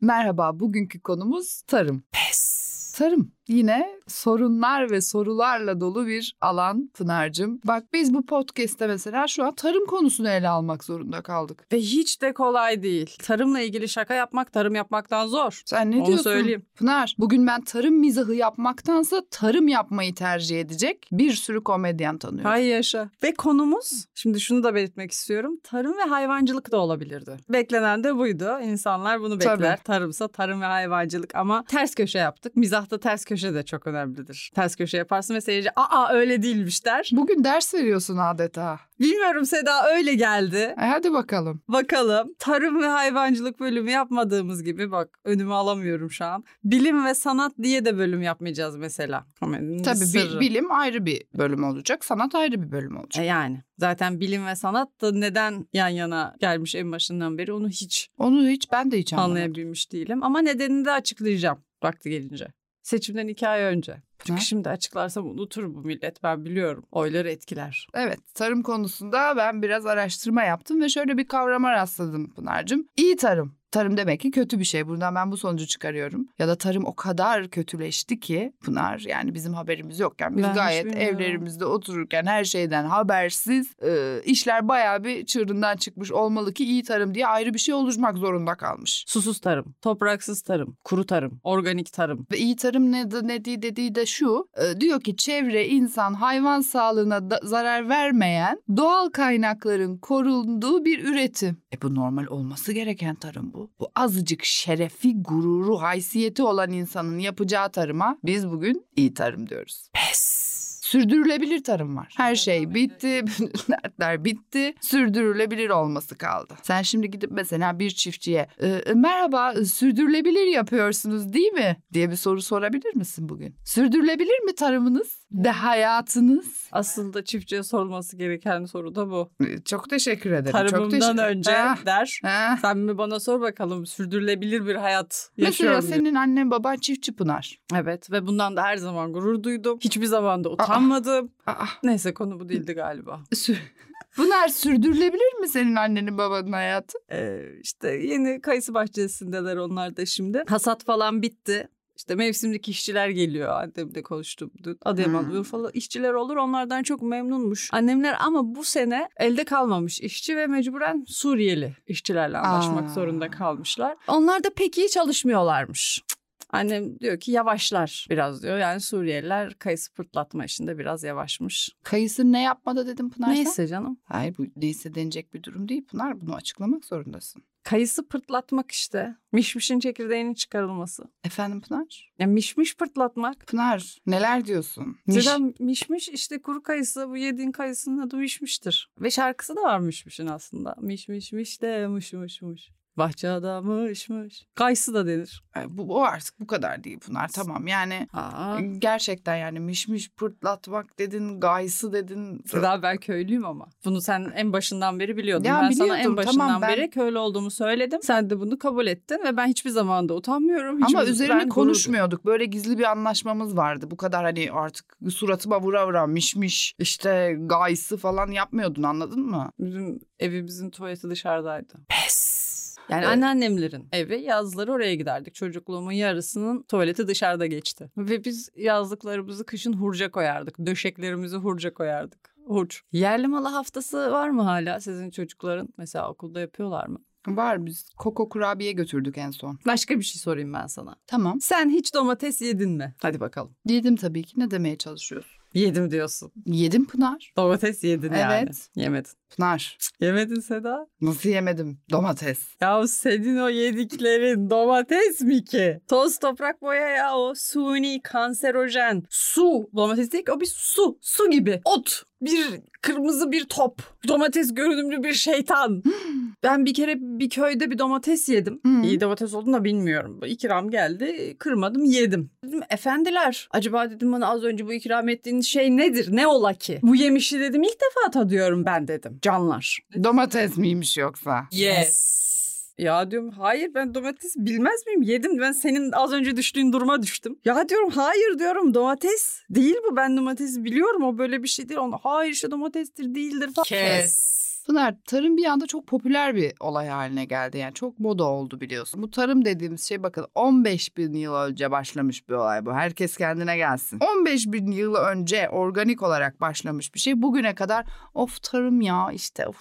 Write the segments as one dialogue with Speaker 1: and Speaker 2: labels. Speaker 1: Merhaba, bugünkü konumuz tarım.
Speaker 2: Pes.
Speaker 1: Tarım yine sorunlar ve sorularla dolu bir alan Pınar'cığım. Bak biz bu podcast'te mesela şu an tarım konusunu ele almak zorunda kaldık.
Speaker 2: Ve hiç de kolay değil. Tarımla ilgili şaka yapmak tarım yapmaktan zor.
Speaker 1: Sen ne
Speaker 2: Onu
Speaker 1: diyorsun?
Speaker 2: söyleyeyim.
Speaker 1: Pınar, bugün ben tarım mizahı yapmaktansa tarım yapmayı tercih edecek bir sürü komedyen tanıyorum.
Speaker 2: Hay yaşa. Ve konumuz, şimdi şunu da belirtmek istiyorum. Tarım ve hayvancılık da olabilirdi. Beklenen de buydu. İnsanlar bunu bekler.
Speaker 1: Tabii.
Speaker 2: Tarımsa tarım ve hayvancılık ama ters köşe yaptık. Mizahta ters köşe de çok önemlidir. Ters köşe yaparsın ve seyirci aa öyle değilmiş der.
Speaker 1: Bugün ders veriyorsun adeta.
Speaker 2: Bilmiyorum Seda öyle geldi.
Speaker 1: E hadi bakalım.
Speaker 2: Bakalım tarım ve hayvancılık bölümü yapmadığımız gibi bak önümü alamıyorum şu an. Bilim ve sanat diye de bölüm yapmayacağız mesela. Komedinin
Speaker 1: Tabii bi-
Speaker 2: sırrı.
Speaker 1: bilim ayrı bir bölüm olacak, sanat ayrı bir bölüm olacak.
Speaker 2: E yani zaten bilim ve sanat da neden yan yana gelmiş en başından beri onu hiç
Speaker 1: Onu hiç ben de hiç anlayamadım.
Speaker 2: anlayabilmiş değilim. Ama nedenini de açıklayacağım vakti gelince. Seçimden iki ay önce. Çünkü
Speaker 1: Ha?
Speaker 2: şimdi açıklarsam unutur bu millet ben biliyorum. Oyları etkiler.
Speaker 1: Evet, tarım konusunda ben biraz araştırma yaptım ve şöyle bir kavrama rastladım Pınar'cığım. İyi tarım. Tarım demek ki kötü bir şey. Buradan ben bu sonucu çıkarıyorum. Ya da tarım o kadar kötüleşti ki Pınar yani bizim haberimiz yokken biz
Speaker 2: Ben hiç
Speaker 1: gayet
Speaker 2: bilmiyorum.
Speaker 1: evlerimizde otururken her şeyden habersiz e, işler bayağı bir çığırından çıkmış olmalı ki iyi tarım diye ayrı bir şey oluşmak zorunda kalmış.
Speaker 2: Susuz tarım, topraksız tarım, kuru tarım, organik tarım.
Speaker 1: Ve iyi tarım ne, ne diye dediği de şu. e, Diyor ki çevre, insan, hayvan sağlığına da zarar vermeyen doğal kaynakların korunduğu bir üretim. E bu normal olması gereken tarım bu. Bu azıcık şerefi, gururu, haysiyeti olan insanın yapacağı tarıma biz bugün iyi tarım diyoruz.
Speaker 2: Pes.
Speaker 1: Sürdürülebilir tarım var. Her şey bitti, dertler bitti. Sürdürülebilir olması kaldı. Sen şimdi gidip mesela bir çiftçiye "E, merhaba e, sürdürülebilir yapıyorsunuz değil mi? diye bir soru sorabilir misin bugün? Sürdürülebilir mi tarımınız? De hayatınız?
Speaker 2: Aslında çiftçiye sorulması gereken soru da bu.
Speaker 1: E, Çok teşekkür ederim. Ah, çok
Speaker 2: Tarımımdan
Speaker 1: teşekkür-
Speaker 2: önce
Speaker 1: Ha,
Speaker 2: der.
Speaker 1: ha.
Speaker 2: Sen mi bana sor bakalım sürdürülebilir bir hayat yaşıyor
Speaker 1: Mesela
Speaker 2: muyum?
Speaker 1: senin annen baban çiftçi Pınar.
Speaker 2: Evet ve bundan da her zaman gurur duydum. Hiçbir zaman da utanmadım.
Speaker 1: Aa,
Speaker 2: Neyse konu bu değildi galiba.
Speaker 1: sü- Pınar sürdürülebilir mi senin annenin babanın hayatı?
Speaker 2: Ee, işte yeni kayısı bahçesindeler onlar da şimdi. Hasat falan bitti. İşte mevsimlik işçiler geliyor. Annemle konuştum dün. Adıyaman
Speaker 1: Hmm.
Speaker 2: Urfalı işçiler olur. Onlardan çok memnunmuş. Annemler ama bu sene elde kalmamış işçi ve mecburen Suriyeli işçilerle anlaşmak
Speaker 1: Aa.
Speaker 2: zorunda kalmışlar. Onlar da pek iyi çalışmıyorlarmış. Cık. Annem diyor ki yavaşlar biraz diyor. Yani Suriyeliler kayısı pırtlatma işinde biraz yavaşmış.
Speaker 1: Kayısı ne yapmadı dedim Pınar sen?
Speaker 2: Neyse canım.
Speaker 1: Hayır bu neyse denecek bir durum değil Pınar. Bunu açıklamak zorundasın.
Speaker 2: Kayısı pırtlatmak işte. Mişmişin çekirdeğinin çıkarılması.
Speaker 1: Efendim Pınar?
Speaker 2: Ya mişmiş pırtlatmak.
Speaker 1: Pınar neler diyorsun? Niş.
Speaker 2: Zaten mişmiş işte kuru kayısı bu yediğin kayısının adı mişmiştir. Ve şarkısı da var mişmişin aslında. Mişmiş miş de mış mış mış. Bahçede mış mış. Kayısı da denir.
Speaker 1: Ay, Bu, bu artık bu kadar değil Pınar. Tamam yani
Speaker 2: Aa.
Speaker 1: gerçekten yani mişmiş pırtlatmak dedin, gaysı dedin.
Speaker 2: Daha ben köylüyüm ama. Bunu sen en başından beri biliyordun.
Speaker 1: Ya
Speaker 2: ben sana
Speaker 1: biliyordum,
Speaker 2: en başından
Speaker 1: tamam, ben-
Speaker 2: beri köylü olduğumu söyledim. Sen de bunu kabul ettin ve ben hiçbir zaman da utanmıyorum.
Speaker 1: Ama
Speaker 2: Hiçbir- ben
Speaker 1: üzerine
Speaker 2: gurur-
Speaker 1: konuşmuyorduk. Böyle gizli bir anlaşmamız vardı. Bu kadar hani artık suratıma vura vura mişmiş işte gaysı falan yapmıyordun anladın mı?
Speaker 2: Bizim evimizin tuvaleti dışarıdaydı.
Speaker 1: Pes.
Speaker 2: Yani
Speaker 1: Evet.
Speaker 2: anneannemlerin evi yazları oraya giderdik. Çocukluğumun yarısının tuvaleti dışarıda geçti. Ve biz yazlıklarımızı kışın hurca koyardık. Döşeklerimizi hurca koyardık. Hurç. Yerli malı haftası var mı hala sizin çocukların? Mesela okulda yapıyorlar mı?
Speaker 1: Var biz koko kurabiye götürdük en son.
Speaker 2: Başka bir şey sorayım ben sana.
Speaker 1: Tamam.
Speaker 2: Sen hiç domates yedin mi? Hadi bakalım.
Speaker 1: Yedim tabii ki ne demeye çalışıyorsun?
Speaker 2: Yedim diyorsun.
Speaker 1: Yedim Pınar.
Speaker 2: Domates yedin yani.
Speaker 1: Evet.
Speaker 2: Yemedin.
Speaker 1: Pınar.
Speaker 2: Cık, Yemedin Seda.
Speaker 1: Nasıl yemedim? Domates.
Speaker 2: Ya senin o yediklerin domates mi ki? Toz toprak boya ya o suni kanserojen. Su. Domates değil ki o bir su. Su gibi. Ot. Bir kırmızı bir top. Domates görünümlü bir şeytan. ben bir kere bir köyde bir domates yedim.
Speaker 1: Hmm.
Speaker 2: İyi domates olduğunu da bilmiyorum. Bu İkram geldi kırmadım yedim. Dedim, Efendiler acaba dedim bana az önce bu ikram ettiğiniz şey nedir? Ne ola ki? Bu yemişi dedim ilk defa tadıyorum ben dedim. Canlar.
Speaker 1: Domates miymiş yoksa?
Speaker 2: Yes. Ya diyorum hayır ben domates bilmez miyim? Yedim ben senin az önce düştüğün duruma düştüm. Ya diyorum hayır diyorum domates değil bu ben domatesi biliyorum o böyle bir şey değil. Onu hayır işte domatestir değildir falan.
Speaker 1: Kes. Pınar tarım bir anda çok popüler bir olay haline geldi. Yani çok moda oldu biliyorsun. Bu tarım dediğimiz şey bakın 15 bin yıl önce başlamış bir olay bu. Herkes kendine gelsin. 15 bin yıl önce organik olarak başlamış bir şey. Bugüne kadar of tarım ya işte of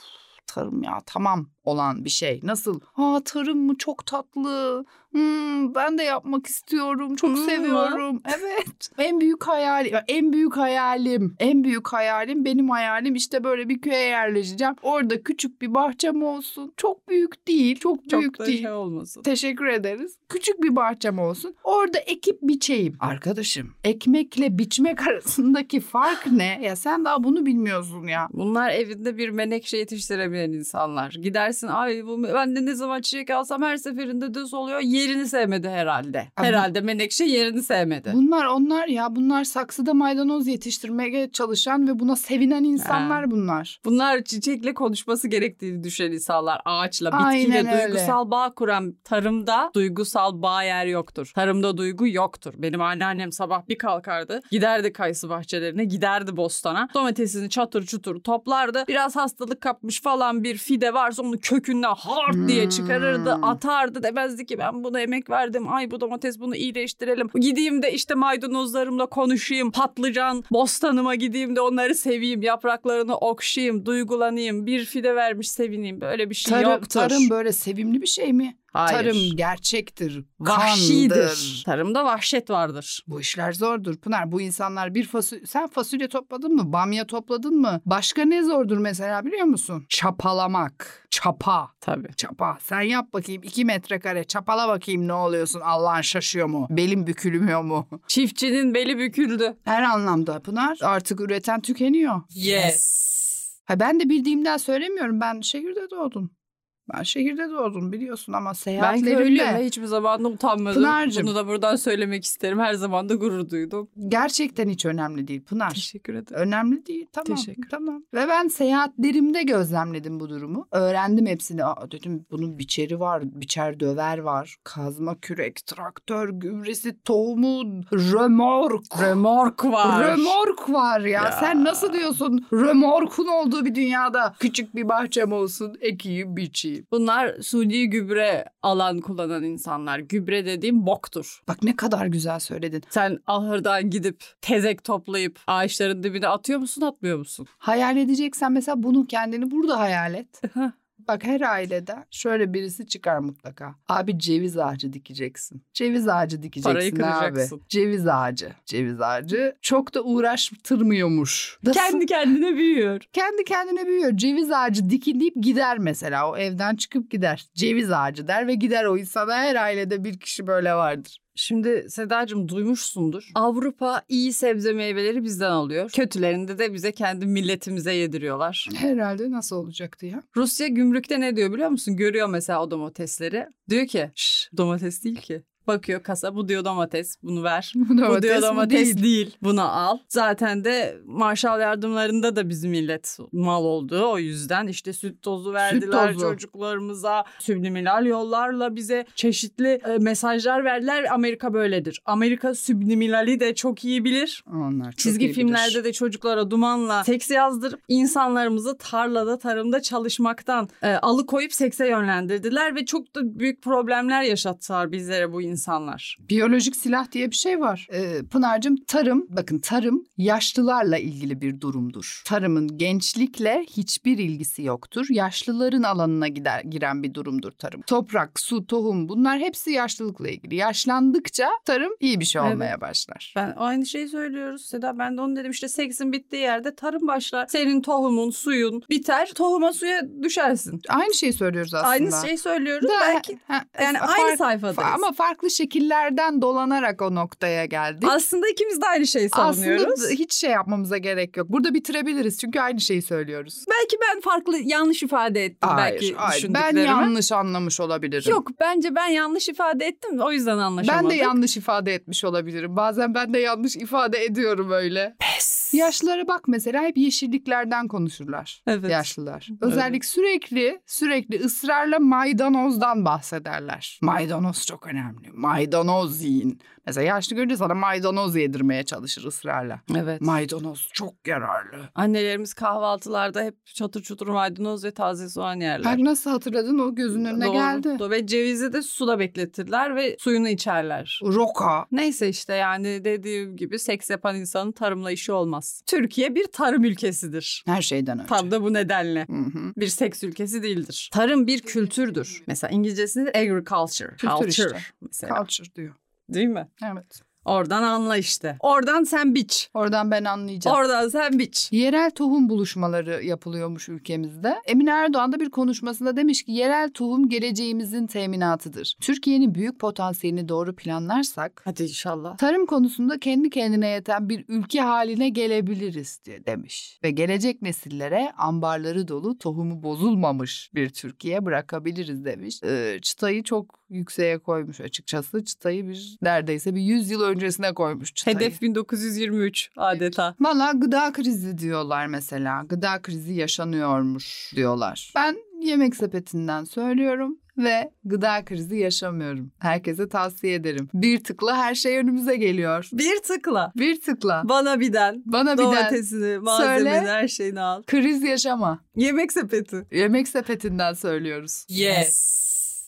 Speaker 1: tarım ya tamam olan bir şey. Nasıl? Aa tarım mı çok tatlı. Hmm, ben de yapmak istiyorum. Çok
Speaker 2: Hmm mı?
Speaker 1: seviyorum. Evet. En büyük hayalim. En büyük hayalim. En büyük hayalim benim hayalim işte böyle bir köye yerleşeceğim. Orada küçük bir bahçem olsun. Çok büyük değil. Çok,
Speaker 2: Çok
Speaker 1: büyük
Speaker 2: da
Speaker 1: değil.
Speaker 2: şey olmasın.
Speaker 1: Teşekkür ederiz. Küçük bir bahçem olsun. Orada ekip biçeyim. Arkadaşım ekmekle biçmek arasındaki fark ne? Ya sen daha bunu bilmiyorsun ya.
Speaker 2: Bunlar evinde bir menekşe yetiştirebilen insanlar. Gidersin ay bu ben de ne zaman çiçek alsam her seferinde düz oluyor. Yerini sevmedi herhalde.
Speaker 1: Abi-
Speaker 2: herhalde menekşe yerini sevmedi.
Speaker 1: Bunlar onlar ya bunlar saksıda maydanoz yetiştirmeye çalışan ve buna sevinen insanlar bunlar.
Speaker 2: Bunlar çiçekle konuşması gerektiğini düşünen insanlar. Ağaçla, bitkiyle
Speaker 1: Aynen öyle.
Speaker 2: duygusal bağ kuran tarımda duygusal bağ yer yoktur. Tarımda duygu yoktur. Benim anneannem sabah bir kalkardı. Giderdi kayısı bahçelerine, giderdi bostana. Domatesini çatır çutur toplardı. Biraz hastalık kapmış falan bir fide varsa onu kökünden hard diye
Speaker 1: Hmm.
Speaker 2: çıkarırdı, atardı. Demezdi ki ben buna emek verdim. Ay bu domates bunu iyileştirelim. Gideyim de işte maydanozlarımla konuşayım. Patlıcan bostanıma gideyim de onları seveyim. Yapraklarını okşayayım, duygulanayım. Bir fide vermiş sevineyim. Böyle bir şey
Speaker 1: Tarım,
Speaker 2: yoktur.
Speaker 1: tarım böyle sevimli bir şey mi?
Speaker 2: Hayır.
Speaker 1: Tarım gerçektir,
Speaker 2: vahşidir.
Speaker 1: kandır.
Speaker 2: Tarımda vahşet vardır.
Speaker 1: Bu işler zordur Pınar. Bu insanlar bir fasulye... Sen fasulye topladın mı? Bamya topladın mı? Başka ne zordur mesela biliyor musun? Çapalamak. Çapa.
Speaker 2: Tabii.
Speaker 1: Çapa. Sen yap bakayım iki metrekare. Çapala bakayım ne oluyorsun? Allah'ın şaşıyor mu? Belim bükülmüyor mu?
Speaker 2: Çiftçinin beli büküldü.
Speaker 1: Her anlamda Pınar artık üreten tükeniyor.
Speaker 2: Yes.
Speaker 1: Ha ben de bildiğimden söylemiyorum. Ben şehirde doğdum. Ben şehirde doğdum biliyorsun ama
Speaker 2: Ben köylüyüm ve
Speaker 1: seyahatlerimle
Speaker 2: hiçbir zaman da utanmadım.
Speaker 1: Pınar'cığım.
Speaker 2: Bunu da buradan söylemek isterim. Her zaman da gurur duydum.
Speaker 1: gerçekten hiç önemli değil Pınar.
Speaker 2: Teşekkür ederim.
Speaker 1: Önemli değil. Tamam.
Speaker 2: Teşekkür.
Speaker 1: Tamam. Ve ben seyahatlerimde gözlemledim bu durumu. Öğrendim hepsini. Aa, dedim bunun biçeri var, biçer döver var. Kazma kürek, traktör, gübresi, tohumu, römork.
Speaker 2: Remork var.
Speaker 1: Römork var ya.
Speaker 2: Ya.
Speaker 1: Sen nasıl diyorsun? Römorkun olduğu bir dünyada küçük bir bahçem olsun, ekeyim, biçeyim.
Speaker 2: Bunlar suni gübre alan kullanan insanlar. Gübre dediğim boktur.
Speaker 1: Bak ne kadar güzel söyledin.
Speaker 2: Sen ahırdan gidip tezek toplayıp ağaçların dibine atıyor musun atmıyor musun?
Speaker 1: Hayal edeceksen mesela bunu kendini burada hayal et.
Speaker 2: Aha.
Speaker 1: Bak her ailede şöyle birisi çıkar mutlaka. Abi ceviz ağacı dikeceksin. Ceviz ağacı dikeceksin
Speaker 2: Parayı kıracaksın.
Speaker 1: abi. Ceviz ağacı. Ceviz ağacı çok da uğraştırmıyormuş. Nasıl?
Speaker 2: Kendi kendine büyüyor.
Speaker 1: Kendi kendine büyüyor. Ceviz ağacı dikin deyip gider mesela. O evden çıkıp gider. Ceviz ağacı der ve gider o insana. Her ailede bir kişi böyle vardır.
Speaker 2: Şimdi Sedacığım duymuşsundur. Avrupa iyi sebze meyveleri bizden alıyor. Kötülerini de bize kendi milletimize yediriyorlar.
Speaker 1: Herhalde nasıl olacaktı ya?
Speaker 2: Rusya gümrükte ne diyor biliyor musun? Görüyor mesela o domatesleri. Diyor ki "Şş, domates değil ki. Bakıyor kasa bu diyor domates bunu ver. bu diyor domates değil. Buna al. Zaten de Marshall yardımlarında da bizim millet mal oldu. O yüzden işte süt tozu verdiler
Speaker 1: tozu.
Speaker 2: çocuklarımıza. Sübliminal yollarla bize çeşitli e, mesajlar verdiler. Amerika böyledir. Amerika sübliminali de çok iyi bilir.
Speaker 1: Onlar çok iyi
Speaker 2: Çizgi
Speaker 1: bilir.
Speaker 2: filmlerde de çocuklara dumanla seks yazdırıp insanlarımızı tarlada, tarımda çalışmaktan e, alıkoyup sekse yönlendirdiler ve çok da büyük problemler yaşattılar bizlere bu insanlar.
Speaker 1: Biyolojik silah diye bir şey var. Ee, Pınar'cığım tarım, bakın tarım yaşlılarla ilgili bir durumdur. Tarımın gençlikle hiçbir ilgisi yoktur. Yaşlıların alanına gider, giren bir durumdur tarım. Toprak, su, tohum bunlar hepsi yaşlılıkla ilgili. Yaşlandıkça tarım iyi bir şey
Speaker 2: Evet.
Speaker 1: olmaya başlar.
Speaker 2: Ben aynı şeyi söylüyoruz Seda. Ben de onu dedim işte seksin bittiği yerde tarım başlar. Senin tohumun, suyun biter. Tohuma suya düşersin.
Speaker 1: Aynı şeyi söylüyoruz aslında.
Speaker 2: Aynı şey şeyi söylüyoruz.
Speaker 1: Da-
Speaker 2: Belki
Speaker 1: ha,
Speaker 2: yani
Speaker 1: fark-
Speaker 2: aynı sayfadayız.
Speaker 1: Ama farklı şekillerden dolanarak o noktaya geldik.
Speaker 2: aslında ikimiz de aynı şeyi savunuyoruz.
Speaker 1: Aslında hiç şey yapmamıza gerek yok. Burada bitirebiliriz çünkü aynı şeyi söylüyoruz.
Speaker 2: Belki ben farklı yanlış ifade ettim belki
Speaker 1: Ben
Speaker 2: düşündüklerimi.
Speaker 1: yanlış anlamış olabilirim.
Speaker 2: Yok bence ben yanlış ifade ettim o yüzden anlaşamadık.
Speaker 1: Ben de yanlış ifade etmiş olabilirim. Bazen ben de yanlış ifade ediyorum öyle.
Speaker 2: Pes.
Speaker 1: Yaşlılara bak mesela hep yeşilliklerden konuşurlar.
Speaker 2: Evet.
Speaker 1: Yaşlılar.
Speaker 2: Evet.
Speaker 1: Özellikle sürekli sürekli ısrarla maydanozdan bahsederler. Maydanoz çok önemli. Maydanoz yiyin. Mesela yaşlı görünce sana maydanoz yedirmeye çalışır ısrarla.
Speaker 2: Evet.
Speaker 1: Maydanoz çok yararlı.
Speaker 2: Annelerimiz kahvaltılarda hep çatır çutur maydanoz ve taze soğan yerler.
Speaker 1: Bak nasıl hatırladın o gözünün önüne
Speaker 2: Doğru.
Speaker 1: geldi.
Speaker 2: Doğru. Ve cevizi de suda bekletirler ve suyunu içerler.
Speaker 1: Roka.
Speaker 2: Neyse işte yani dediğim gibi seks yapan insanın tarımla işi olmaz. Türkiye bir tarım ülkesidir.
Speaker 1: Her şeyden önce.
Speaker 2: Tam da bu nedenle.
Speaker 1: Hı hı.
Speaker 2: bir seks ülkesi değildir. Tarım bir kültürdür. Mesela İngilizcesinde agriculture.
Speaker 1: Kültür
Speaker 2: culture
Speaker 1: işte.
Speaker 2: Mesela.
Speaker 1: Culture diyor.
Speaker 2: Değil mi?
Speaker 1: Evet.
Speaker 2: Oradan anla işte. Oradan sen biç.
Speaker 1: Oradan ben anlayacağım.
Speaker 2: Oradan sen biç.
Speaker 1: Yerel tohum buluşmaları yapılıyormuş ülkemizde. Emine Erdoğan da bir konuşmasında demiş ki yerel tohum geleceğimizin teminatıdır. Türkiye'nin büyük potansiyelini doğru planlarsak
Speaker 2: Hadi inşallah.
Speaker 1: tarım konusunda kendi kendine yeten bir ülke haline gelebiliriz diye demiş. Ve gelecek nesillere ambarları dolu tohumu bozulmamış bir Türkiye bırakabiliriz demiş. Ee, çıtayı çok yükseğe koymuş açıkçası. Çıtayı bir neredeyse bir 100 yıl öncesine koymuş çıtayı.
Speaker 2: Hedef 1923 adeta.
Speaker 1: Valla gıda krizi diyorlar mesela. Gıda krizi yaşanıyormuş diyorlar. Ben yemek sepetinden söylüyorum ve gıda krizi yaşamıyorum. Herkese tavsiye ederim. Bir tıkla her şey önümüze geliyor.
Speaker 2: Bir tıkla.
Speaker 1: Bir tıkla.
Speaker 2: Bana birden.
Speaker 1: Bana bir de
Speaker 2: Domatesini, malzemeni,
Speaker 1: Söyle.
Speaker 2: her şeyini al.
Speaker 1: kriz yaşama.
Speaker 2: Yemek sepeti.
Speaker 1: Yemek sepetinden söylüyoruz.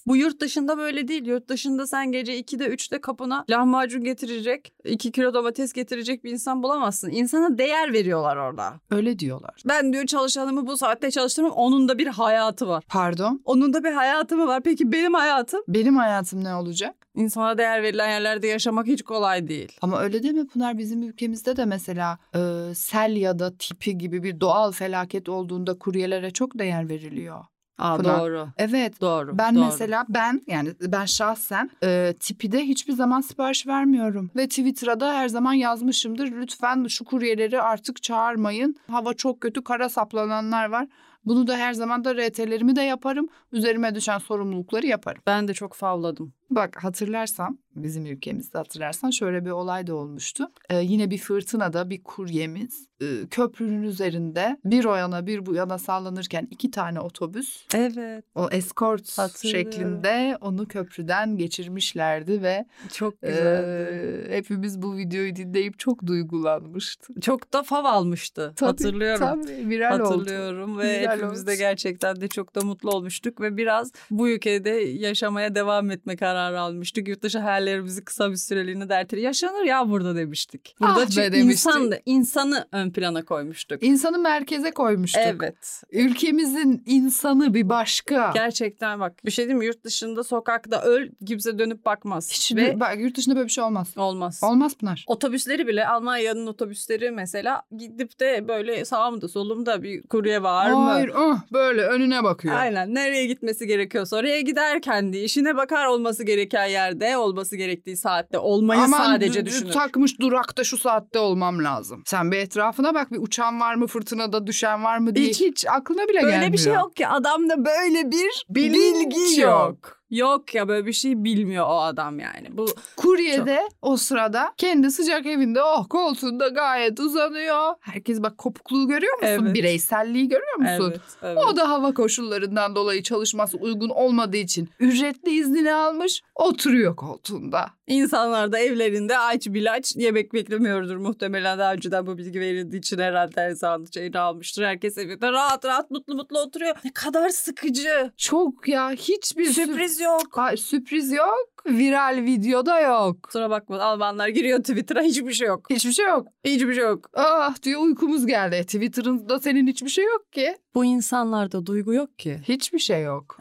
Speaker 2: Bu yurt dışında böyle değil. Yurt dışında sen gece 2'de 3'te kapına lahmacun getirecek, 2 kilo domates getirecek bir insan bulamazsın. İnsana değer veriyorlar orada.
Speaker 1: Öyle diyorlar.
Speaker 2: Ben diyor çalışanımı bu saatte çalıştırmam. Onun da bir hayatı var.
Speaker 1: Pardon.
Speaker 2: Onun da bir hayatı mı var? Peki benim hayatım?
Speaker 1: Benim hayatım ne olacak?
Speaker 2: İnsana değer verilen yerlerde yaşamak hiç kolay değil.
Speaker 1: Ama öyle deme Pınar bizim ülkemizde de mesela e, sel ya da tipi gibi bir doğal felaket olduğunda kuryelere çok değer veriliyor.
Speaker 2: Aa,
Speaker 1: Pınar.
Speaker 2: doğru.
Speaker 1: Evet
Speaker 2: Doğru.
Speaker 1: Ben
Speaker 2: doğru.
Speaker 1: mesela ben yani ben şahsen e, tipide hiçbir zaman sipariş vermiyorum. Ve Twitter'a da her zaman yazmışımdır. Lütfen şu kuryeleri artık çağırmayın. Hava çok kötü kara saplananlar var. Bunu da her zaman da RT'lerimi de yaparım. Üzerime düşen sorumlulukları yaparım.
Speaker 2: ben de çok favladım.
Speaker 1: Bak hatırlarsan bizim ülkemizde hatırlarsan şöyle bir olay da olmuştu. Ee, yine bir fırtınada bir kuryemiz e, köprünün üzerinde bir o yana bir bu yana sallanırken iki tane otobüs
Speaker 2: Evet.
Speaker 1: o eskort
Speaker 2: Hatırlıyorum.
Speaker 1: şeklinde onu köprüden geçirmişlerdi ve
Speaker 2: Çok güzeldi.
Speaker 1: eee hepimiz bu videoyu dinleyip çok duygulanmıştık.
Speaker 2: Çok da fav almıştı.
Speaker 1: Tabii,
Speaker 2: Hatırlıyorum.
Speaker 1: Tabii viral oldu.
Speaker 2: Hatırlıyorum ve
Speaker 1: Güzel
Speaker 2: hepimiz
Speaker 1: oldu.
Speaker 2: de gerçekten de çok da mutlu olmuştuk ve biraz bu ülkede yaşamaya devam etme kararı almıştık. Yurt dışı hayallerimizi kısa bir süreliğine dertleri yaşanır ya burada demiştik. Burada
Speaker 1: Ah be
Speaker 2: çünkü
Speaker 1: demiştik.
Speaker 2: insan da insanı ön plana koymuştuk.
Speaker 1: İnsanı merkeze koymuştuk. Ah.
Speaker 2: Evet.
Speaker 1: Ülkemizin insanı bir başka.
Speaker 2: Gerçekten bak bir şey diyeyim mi? Yurt dışında sokakta öl kimse dönüp bakmaz.
Speaker 1: Hiç
Speaker 2: ve
Speaker 1: bak, yurt dışında böyle bir şey olmaz.
Speaker 2: olmaz.
Speaker 1: Olmaz Pınar.
Speaker 2: Otobüsleri bile Almanya'nın otobüsleri mesela gidip de böyle sağımda solumda bir kurye var mı?
Speaker 1: Hayır, ah, böyle önüne bakıyor.
Speaker 2: Aynen nereye gitmesi gerekiyorsa oraya gider kendi işine bakar olması gereken yerde olması gerektiği saatte olmayı
Speaker 1: Aman
Speaker 2: sadece
Speaker 1: dü- dü-
Speaker 2: düşünür.
Speaker 1: takmış durakta şu saatte olmam lazım. Sen bir etrafına bak bir uçan var mı fırtınada düşen var mı diye hiç,
Speaker 2: Hiç.
Speaker 1: aklına bile gelmiyor.
Speaker 2: böyle bir şey yok ki adamda böyle bir
Speaker 1: Bilinç
Speaker 2: bilgi yok.
Speaker 1: yok.
Speaker 2: yok. ya böyle bir şey bilmiyor o adam yani. Bu
Speaker 1: Kuryede o sırada kendi sıcak evinde oh koltuğunda gayet uzanıyor. Herkes bak kopukluğu görüyor musun?
Speaker 2: Evet.
Speaker 1: Bireyselliği görüyor musun?
Speaker 2: evet, evet.
Speaker 1: O da hava koşullarından dolayı çalışması uygun olmadığı için ücretli iznini almış oturuyor koltuğunda.
Speaker 2: İnsanlar da evlerinde aç bilaç yemek beklemiyordur muhtemelen daha önceden bu bilgi verildiği için herhalde her zaman şeyini almıştır. Herkes evinde rahat rahat mutlu mutlu oturuyor. Ne kadar sıkıcı.
Speaker 1: Çok ya hiçbir sür-
Speaker 2: Sürpriz yok.
Speaker 1: Ay, sürpriz yok. Viral videoda yok.
Speaker 2: Kusura bakma Almanlar giriyor Twitter'a hiçbir şey yok.
Speaker 1: Hiçbir şey yok.
Speaker 2: Hiçbir şey yok.
Speaker 1: Ah diyor uykumuz geldi. Twitter'ın da senin hiçbir şey yok ki.
Speaker 2: Bu insanlarda duygu yok ki.
Speaker 1: Hiçbir şey yok.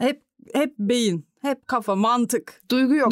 Speaker 2: Hep beyin, hep kafa, mantık.
Speaker 1: Duygu yok.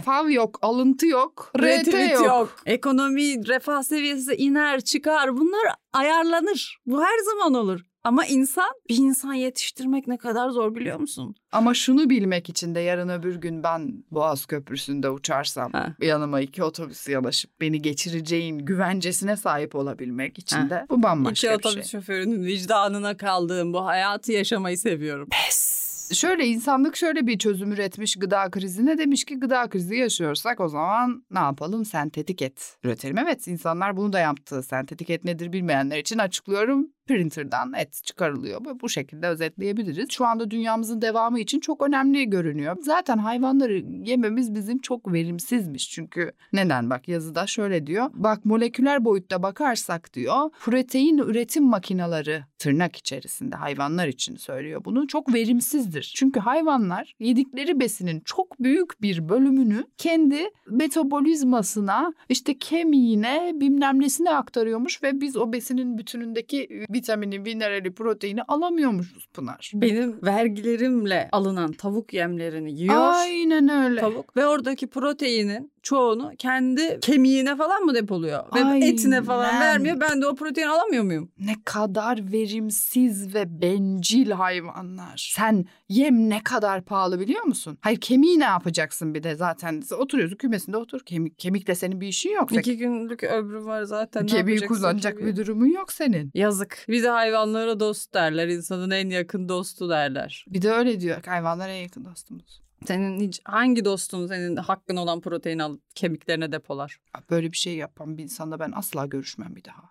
Speaker 1: Fav, fav yok. Alıntı yok. RT
Speaker 2: Retweet
Speaker 1: yok.
Speaker 2: yok. Ekonomi, refah seviyesi iner, çıkar. Bunlar ayarlanır. Bu her zaman olur. Ama insan, bir insan yetiştirmek ne kadar zor biliyor musun?
Speaker 1: Ama şunu bilmek için de yarın öbür gün ben Boğaz Köprüsü'nde uçarsam
Speaker 2: Ha.
Speaker 1: yanıma iki otobüs yanaşıp beni geçireceğin güvencesine sahip olabilmek için
Speaker 2: Ha.
Speaker 1: de bu bambaşka
Speaker 2: İki
Speaker 1: bir
Speaker 2: otobüs
Speaker 1: şey.
Speaker 2: şoförünün vicdanına kaldığım bu hayatı yaşamayı seviyorum.
Speaker 1: Pes. Şöyle insanlık şöyle bir çözüm üretmiş gıda krizine demiş ki gıda krizi yaşıyorsak o zaman ne yapalım sentetik et üretelim. Evet insanlar bunu da yaptı. Sentetik et nedir bilmeyenler için açıklıyorum. Printer'dan et çıkarılıyor. Bu- Bu şekilde özetleyebiliriz. Şu anda dünyamızın devamı için çok önemli görünüyor. Zaten hayvanları yememiz bizim çok verimsizmiş. Çünkü neden bak yazıda şöyle diyor. Bak moleküler boyutta bakarsak diyor protein üretim makineleri tırnak içerisinde hayvanlar için söylüyor bunu çok verimsizdir. Çünkü hayvanlar yedikleri besinin çok büyük bir bölümünü kendi metabolizmasına işte kemiğine bilmem nesine aktarıyormuş ve biz o besinin bütünündeki vitamini, minerali, proteini alamıyormuşuz Pınar.
Speaker 2: Benim vergilerimle alınan tavuk yemlerini yiyor.
Speaker 1: Aynen öyle.
Speaker 2: tavuk ve oradaki proteinin çoğunu kendi kemiğine falan mı depoluyor? Ve
Speaker 1: Aynen.
Speaker 2: etine falan vermiyor. Ben de o proteini alamıyor muyum?
Speaker 1: Ne kadar verimsiz ve bencil hayvanlar. Sen yem ne kadar pahalı biliyor musun? Hayır kemiği ne yapacaksın bir de zaten. Oturuyorsun kümesinde otur. Kemik, kemikte senin bir işin yok.
Speaker 2: İki günlük ömrüm var zaten. ne
Speaker 1: Kemiği
Speaker 2: yapacaksın
Speaker 1: kullanacak
Speaker 2: kemiği?
Speaker 1: bir durumun yok senin.
Speaker 2: Yazık. Bir de hayvanlara dost derler. insanın en yakın dostu derler.
Speaker 1: Bir de öyle diyor. Hayvanlara en yakın dostumuz.
Speaker 2: Senin hiç hangi dostun senin hakkın olan proteini alıp kemiklerine depolar?
Speaker 1: Böyle bir şey yapan bir insanla ben asla görüşmem bir daha.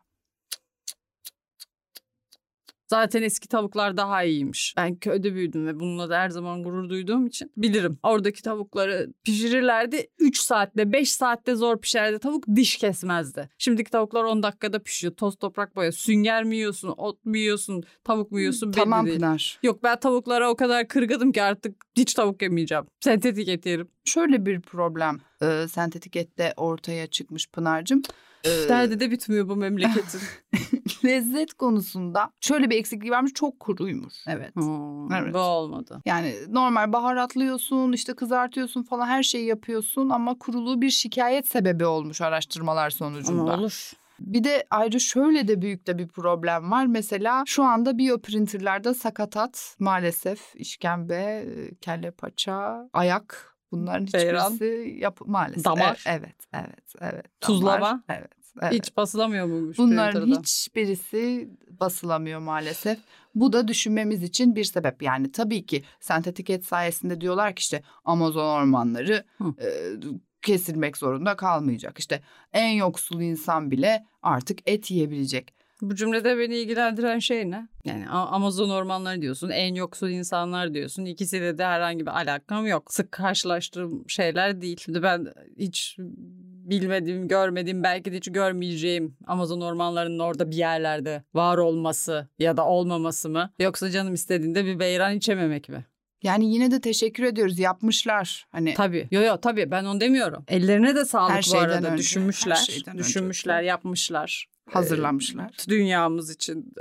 Speaker 2: Zaten eski tavuklar daha iyiymiş. Ben köyde büyüdüm ve bununla da her zaman gurur duyduğum için bilirim. Oradaki tavukları pişirirlerdi. 3 saatte 5 saatte zor pişerdi tavuk diş kesmezdi. Şimdiki tavuklar 10 dakikada pişiyor. Toz toprak boya. Sünger mi yiyorsun? Ot mu yiyorsun? Tavuk mu yiyorsun? Belli
Speaker 1: tamam
Speaker 2: değil.
Speaker 1: Pınar.
Speaker 2: Yok ben tavuklara o kadar kırgıdım ki artık hiç tavuk yemeyeceğim. Sentetik et yerim.
Speaker 1: Şöyle bir problem e, sentetik ette ortaya çıkmış Pınar'cığım. E,
Speaker 2: Derdi de bitmiyor bu memleketin.
Speaker 1: lezzet konusunda şöyle bir eksikliği varmış çok kuruymuş. Evet.
Speaker 2: Hmm,
Speaker 1: Evet.
Speaker 2: Bu olmadı.
Speaker 1: Yani normal baharatlıyorsun, işte kızartıyorsun falan her şeyi yapıyorsun ama kuruluğu bir şikayet sebebi olmuş araştırmalar sonucunda.
Speaker 2: Ama olur.
Speaker 1: Bir de ayrıca şöyle de büyük de bir problem var. Mesela şu anda biyoprinterlerde sakatat maalesef işkembe, e, kelle paça, ayak bunların
Speaker 2: Beyran.
Speaker 1: hiçbirisi yap maalesef.
Speaker 2: Damar.
Speaker 1: E- Evet, evet, evet.
Speaker 2: Tuzlama.
Speaker 1: damar. Evet. evet.
Speaker 2: Hiç basılamıyor bu güç
Speaker 1: Bunların
Speaker 2: printer'da.
Speaker 1: hiçbirisi basılamıyor maalesef. Bu da düşünmemiz için bir sebep. Yani tabii ki sentetik et sayesinde diyorlar ki işte Amazon ormanları
Speaker 2: Hı.
Speaker 1: e, kesilmek zorunda kalmayacak. İşte en yoksul insan bile artık et yiyebilecek.
Speaker 2: Bu cümlede beni ilgilendiren şey ne? Yani A- Amazon ormanları diyorsun, en yoksul insanlar diyorsun. İkisiyle de herhangi bir alakam yok. Sık karşılaştığım şeyler değil. Şimdi ben hiç bilmediğim, görmediğim, belki de hiç görmeyeceğim Amazon ormanlarının orada bir yerlerde var olması ya da olmaması mı? Yoksa canım istediğinde bir beyran içememek mi?
Speaker 1: Yani yine de teşekkür ediyoruz yapmışlar. Hani
Speaker 2: Tabii. Yo yo tabii ben onu demiyorum. Ellerine de sağlık
Speaker 1: Her
Speaker 2: bu
Speaker 1: şeyden
Speaker 2: arada.
Speaker 1: önce,
Speaker 2: düşünmüşler.
Speaker 1: her şeyden önce.
Speaker 2: düşünmüşler, yapmışlar.
Speaker 1: hazırlanmışlar.
Speaker 2: Ee, dünyamız için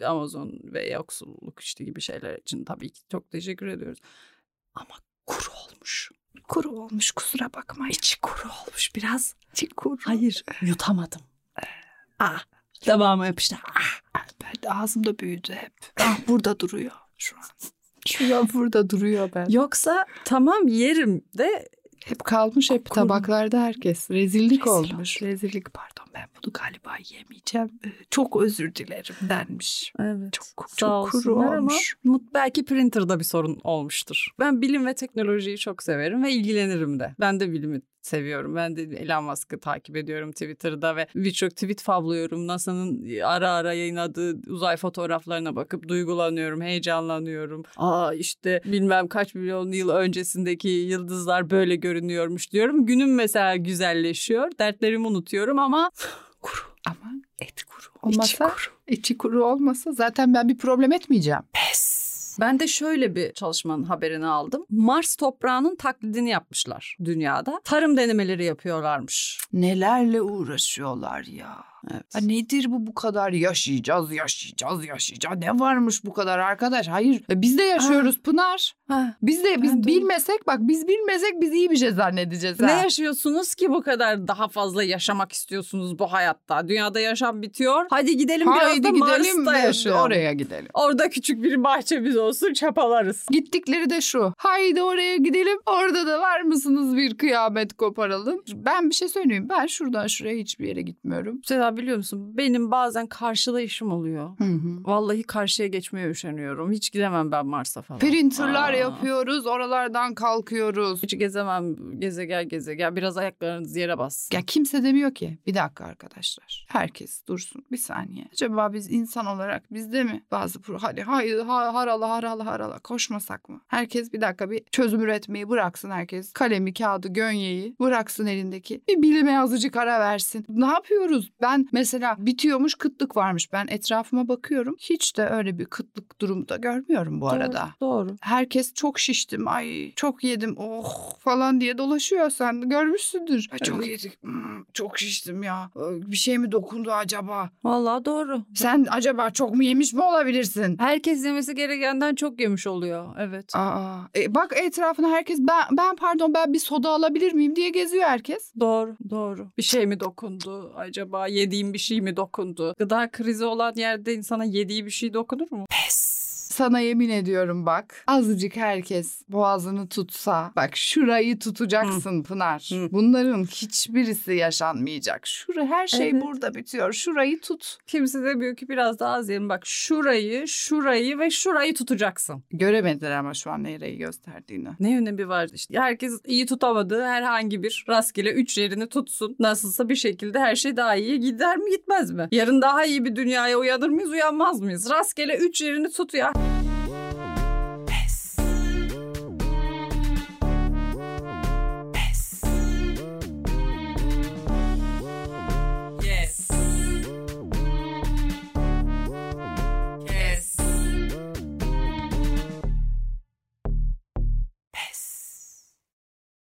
Speaker 2: e, Amazon ve yoksulluk işte gibi şeyler için tabii ki çok teşekkür ediyoruz. Ama kuru olmuş.
Speaker 1: Kuru olmuş kusura bakmayın.
Speaker 2: İçi kuru olmuş biraz.
Speaker 1: İçi kuru.
Speaker 2: Hayır yutamadım. Ah, devamı yapıştı. Ah.
Speaker 1: Ben de ağzımda büyüdü hep. Ah burada duruyor şu an. Şu an burada duruyor ben.
Speaker 2: Yoksa tamam yerim de
Speaker 1: Hep kalmış hep
Speaker 2: Korkunç.
Speaker 1: tabaklarda herkes. Rezillik
Speaker 2: Rezil
Speaker 1: olmuş. Rezillik pardon ben bunu galiba yemeyeceğim. Ee, Çok özür dilerim denmiş.
Speaker 2: evet.
Speaker 1: Çok
Speaker 2: Sağ
Speaker 1: çok kuru
Speaker 2: olsunlar
Speaker 1: olmuş.
Speaker 2: Ama mut- belki printer'da bir sorun olmuştur. Ben bilim ve teknolojiyi çok severim ve ilgilenirim de. Ben de bilimi seviyorum. Ben de Elon Musk'ı takip ediyorum Twitter'da ve birçok tweet favlıyorum. NASA'nın ara ara yayınladığı uzay fotoğraflarına bakıp duygulanıyorum, heyecanlanıyorum. Aa işte bilmem kaç milyon yıl öncesindeki yıldızlar böyle görünüyormuş diyorum. Günüm mesela güzelleşiyor. Dertlerimi unutuyorum ama kuru.
Speaker 1: Ama et kuru
Speaker 2: içi
Speaker 1: olmasa,
Speaker 2: kuru.
Speaker 1: içi kuru olmasa zaten ben bir problem etmeyeceğim.
Speaker 2: Pes. Ben de şöyle bir çalışmanın haberini aldım. Mars toprağının taklidini yapmışlar dünyada. Tarım denemeleri yapıyorlarmış. Hani
Speaker 1: Nelerle uğraşıyorlar ya.
Speaker 2: Evet.
Speaker 1: Ha nedir bu bu kadar yaşayacağız, yaşayacağız, yaşayacağız. Ne varmış bu kadar arkadaş? Hayır. e, Biz de yaşıyoruz Pınar.
Speaker 2: Ha,
Speaker 1: Biz de biz
Speaker 2: Evet, doğru.
Speaker 1: bilmesek bak biz bilmesek biz iyi bir şey zannedeceğiz.
Speaker 2: Ne
Speaker 1: ha.
Speaker 2: yaşıyorsunuz ki bu kadar daha fazla yaşamak istiyorsunuz bu hayatta? Dünyada yaşam bitiyor. Hadi gidelim
Speaker 1: Haydi
Speaker 2: biraz da
Speaker 1: gidelim
Speaker 2: Mars'ta
Speaker 1: ve
Speaker 2: yaşayalım.
Speaker 1: oraya gidelim.
Speaker 2: Orada küçük bir bahçemiz olsun çapalarız.
Speaker 1: Gittikleri de şu. Haydi oraya gidelim. Orada da var mısınız bir kıyamet koparalım. Ben bir şey söyleyeyim. Ben şuradan şuraya hiçbir yere gitmiyorum.
Speaker 2: Seda hatta biliyor musun benim bazen karşılayışım oluyor.
Speaker 1: Hı hı.
Speaker 2: Vallahi karşıya geçmeye üşeniyorum. Hiç gidemem ben Mars'a falan.
Speaker 1: Printerlar
Speaker 2: Aa.
Speaker 1: yapıyoruz, oralardan kalkıyoruz.
Speaker 2: Hiç gezemem gezegen gezegen. Biraz ayaklarınız yere bassın.
Speaker 1: Ya kimse demiyor ki bir dakika arkadaşlar. Herkes dursun bir saniye. Acaba biz insan olarak bizde mi bazı pro hani hayır ha- haralı haralı haralı koşmasak mı? Herkes bir dakika bir çözüm üretmeyi bıraksın herkes. Kalemi, kağıdı, gönyeyi bıraksın elindeki. Bir bilime azıcık ara versin. Ne yapıyoruz? Ben mesela bitiyormuş kıtlık varmış. Ben etrafıma bakıyorum. Hiç de öyle bir kıtlık durumu da görmüyorum bu arada
Speaker 2: Doğru.
Speaker 1: herkes çok şiştim ay çok yedim oh falan diye dolaşıyor sen görmüşsündür. Ay, çok yedik hmm, çok şiştim ya Ay, bir şey mi dokundu acaba
Speaker 2: Vallahi doğru.
Speaker 1: sen acaba çok mu yemiş mi olabilirsin?
Speaker 2: Herkes yemesi gerekenden çok yemiş oluyor. Evet.
Speaker 1: Aa, e, bak etrafına herkes ben, ben pardon ben bir soda alabilir miyim diye geziyor herkes.
Speaker 2: Doğru, doğru. Bir şey mi dokundu? Acaba yediğim bir şey mi dokundu? Gıda krizi olan yerde insana yediği bir şey dokunur mu?
Speaker 1: Sana yemin ediyorum bak azıcık herkes boğazını tutsa bak şurayı tutacaksın Pınar.
Speaker 2: Hı.
Speaker 1: Bunların hiçbirisi yaşanmayacak. Şura her şey
Speaker 2: Evet.
Speaker 1: burada bitiyor. Şurayı tut.
Speaker 2: Kimse demiyor ki biraz daha az yiyelim. Bak şurayı, şurayı ve şurayı tutacaksın.
Speaker 1: Göremediler ama şu an nereyi gösterdiğini.
Speaker 2: Ne önemi var işte. Herkes iyi tutamadığı herhangi bir rastgele üç yerini tutsun. Nasılsa bir şekilde her şey daha iyiye gider mi gitmez mi? Yarın daha iyi bir dünyaya uyanır mıyız uyanmaz mıyız? Rastgele üç yerini tut ya.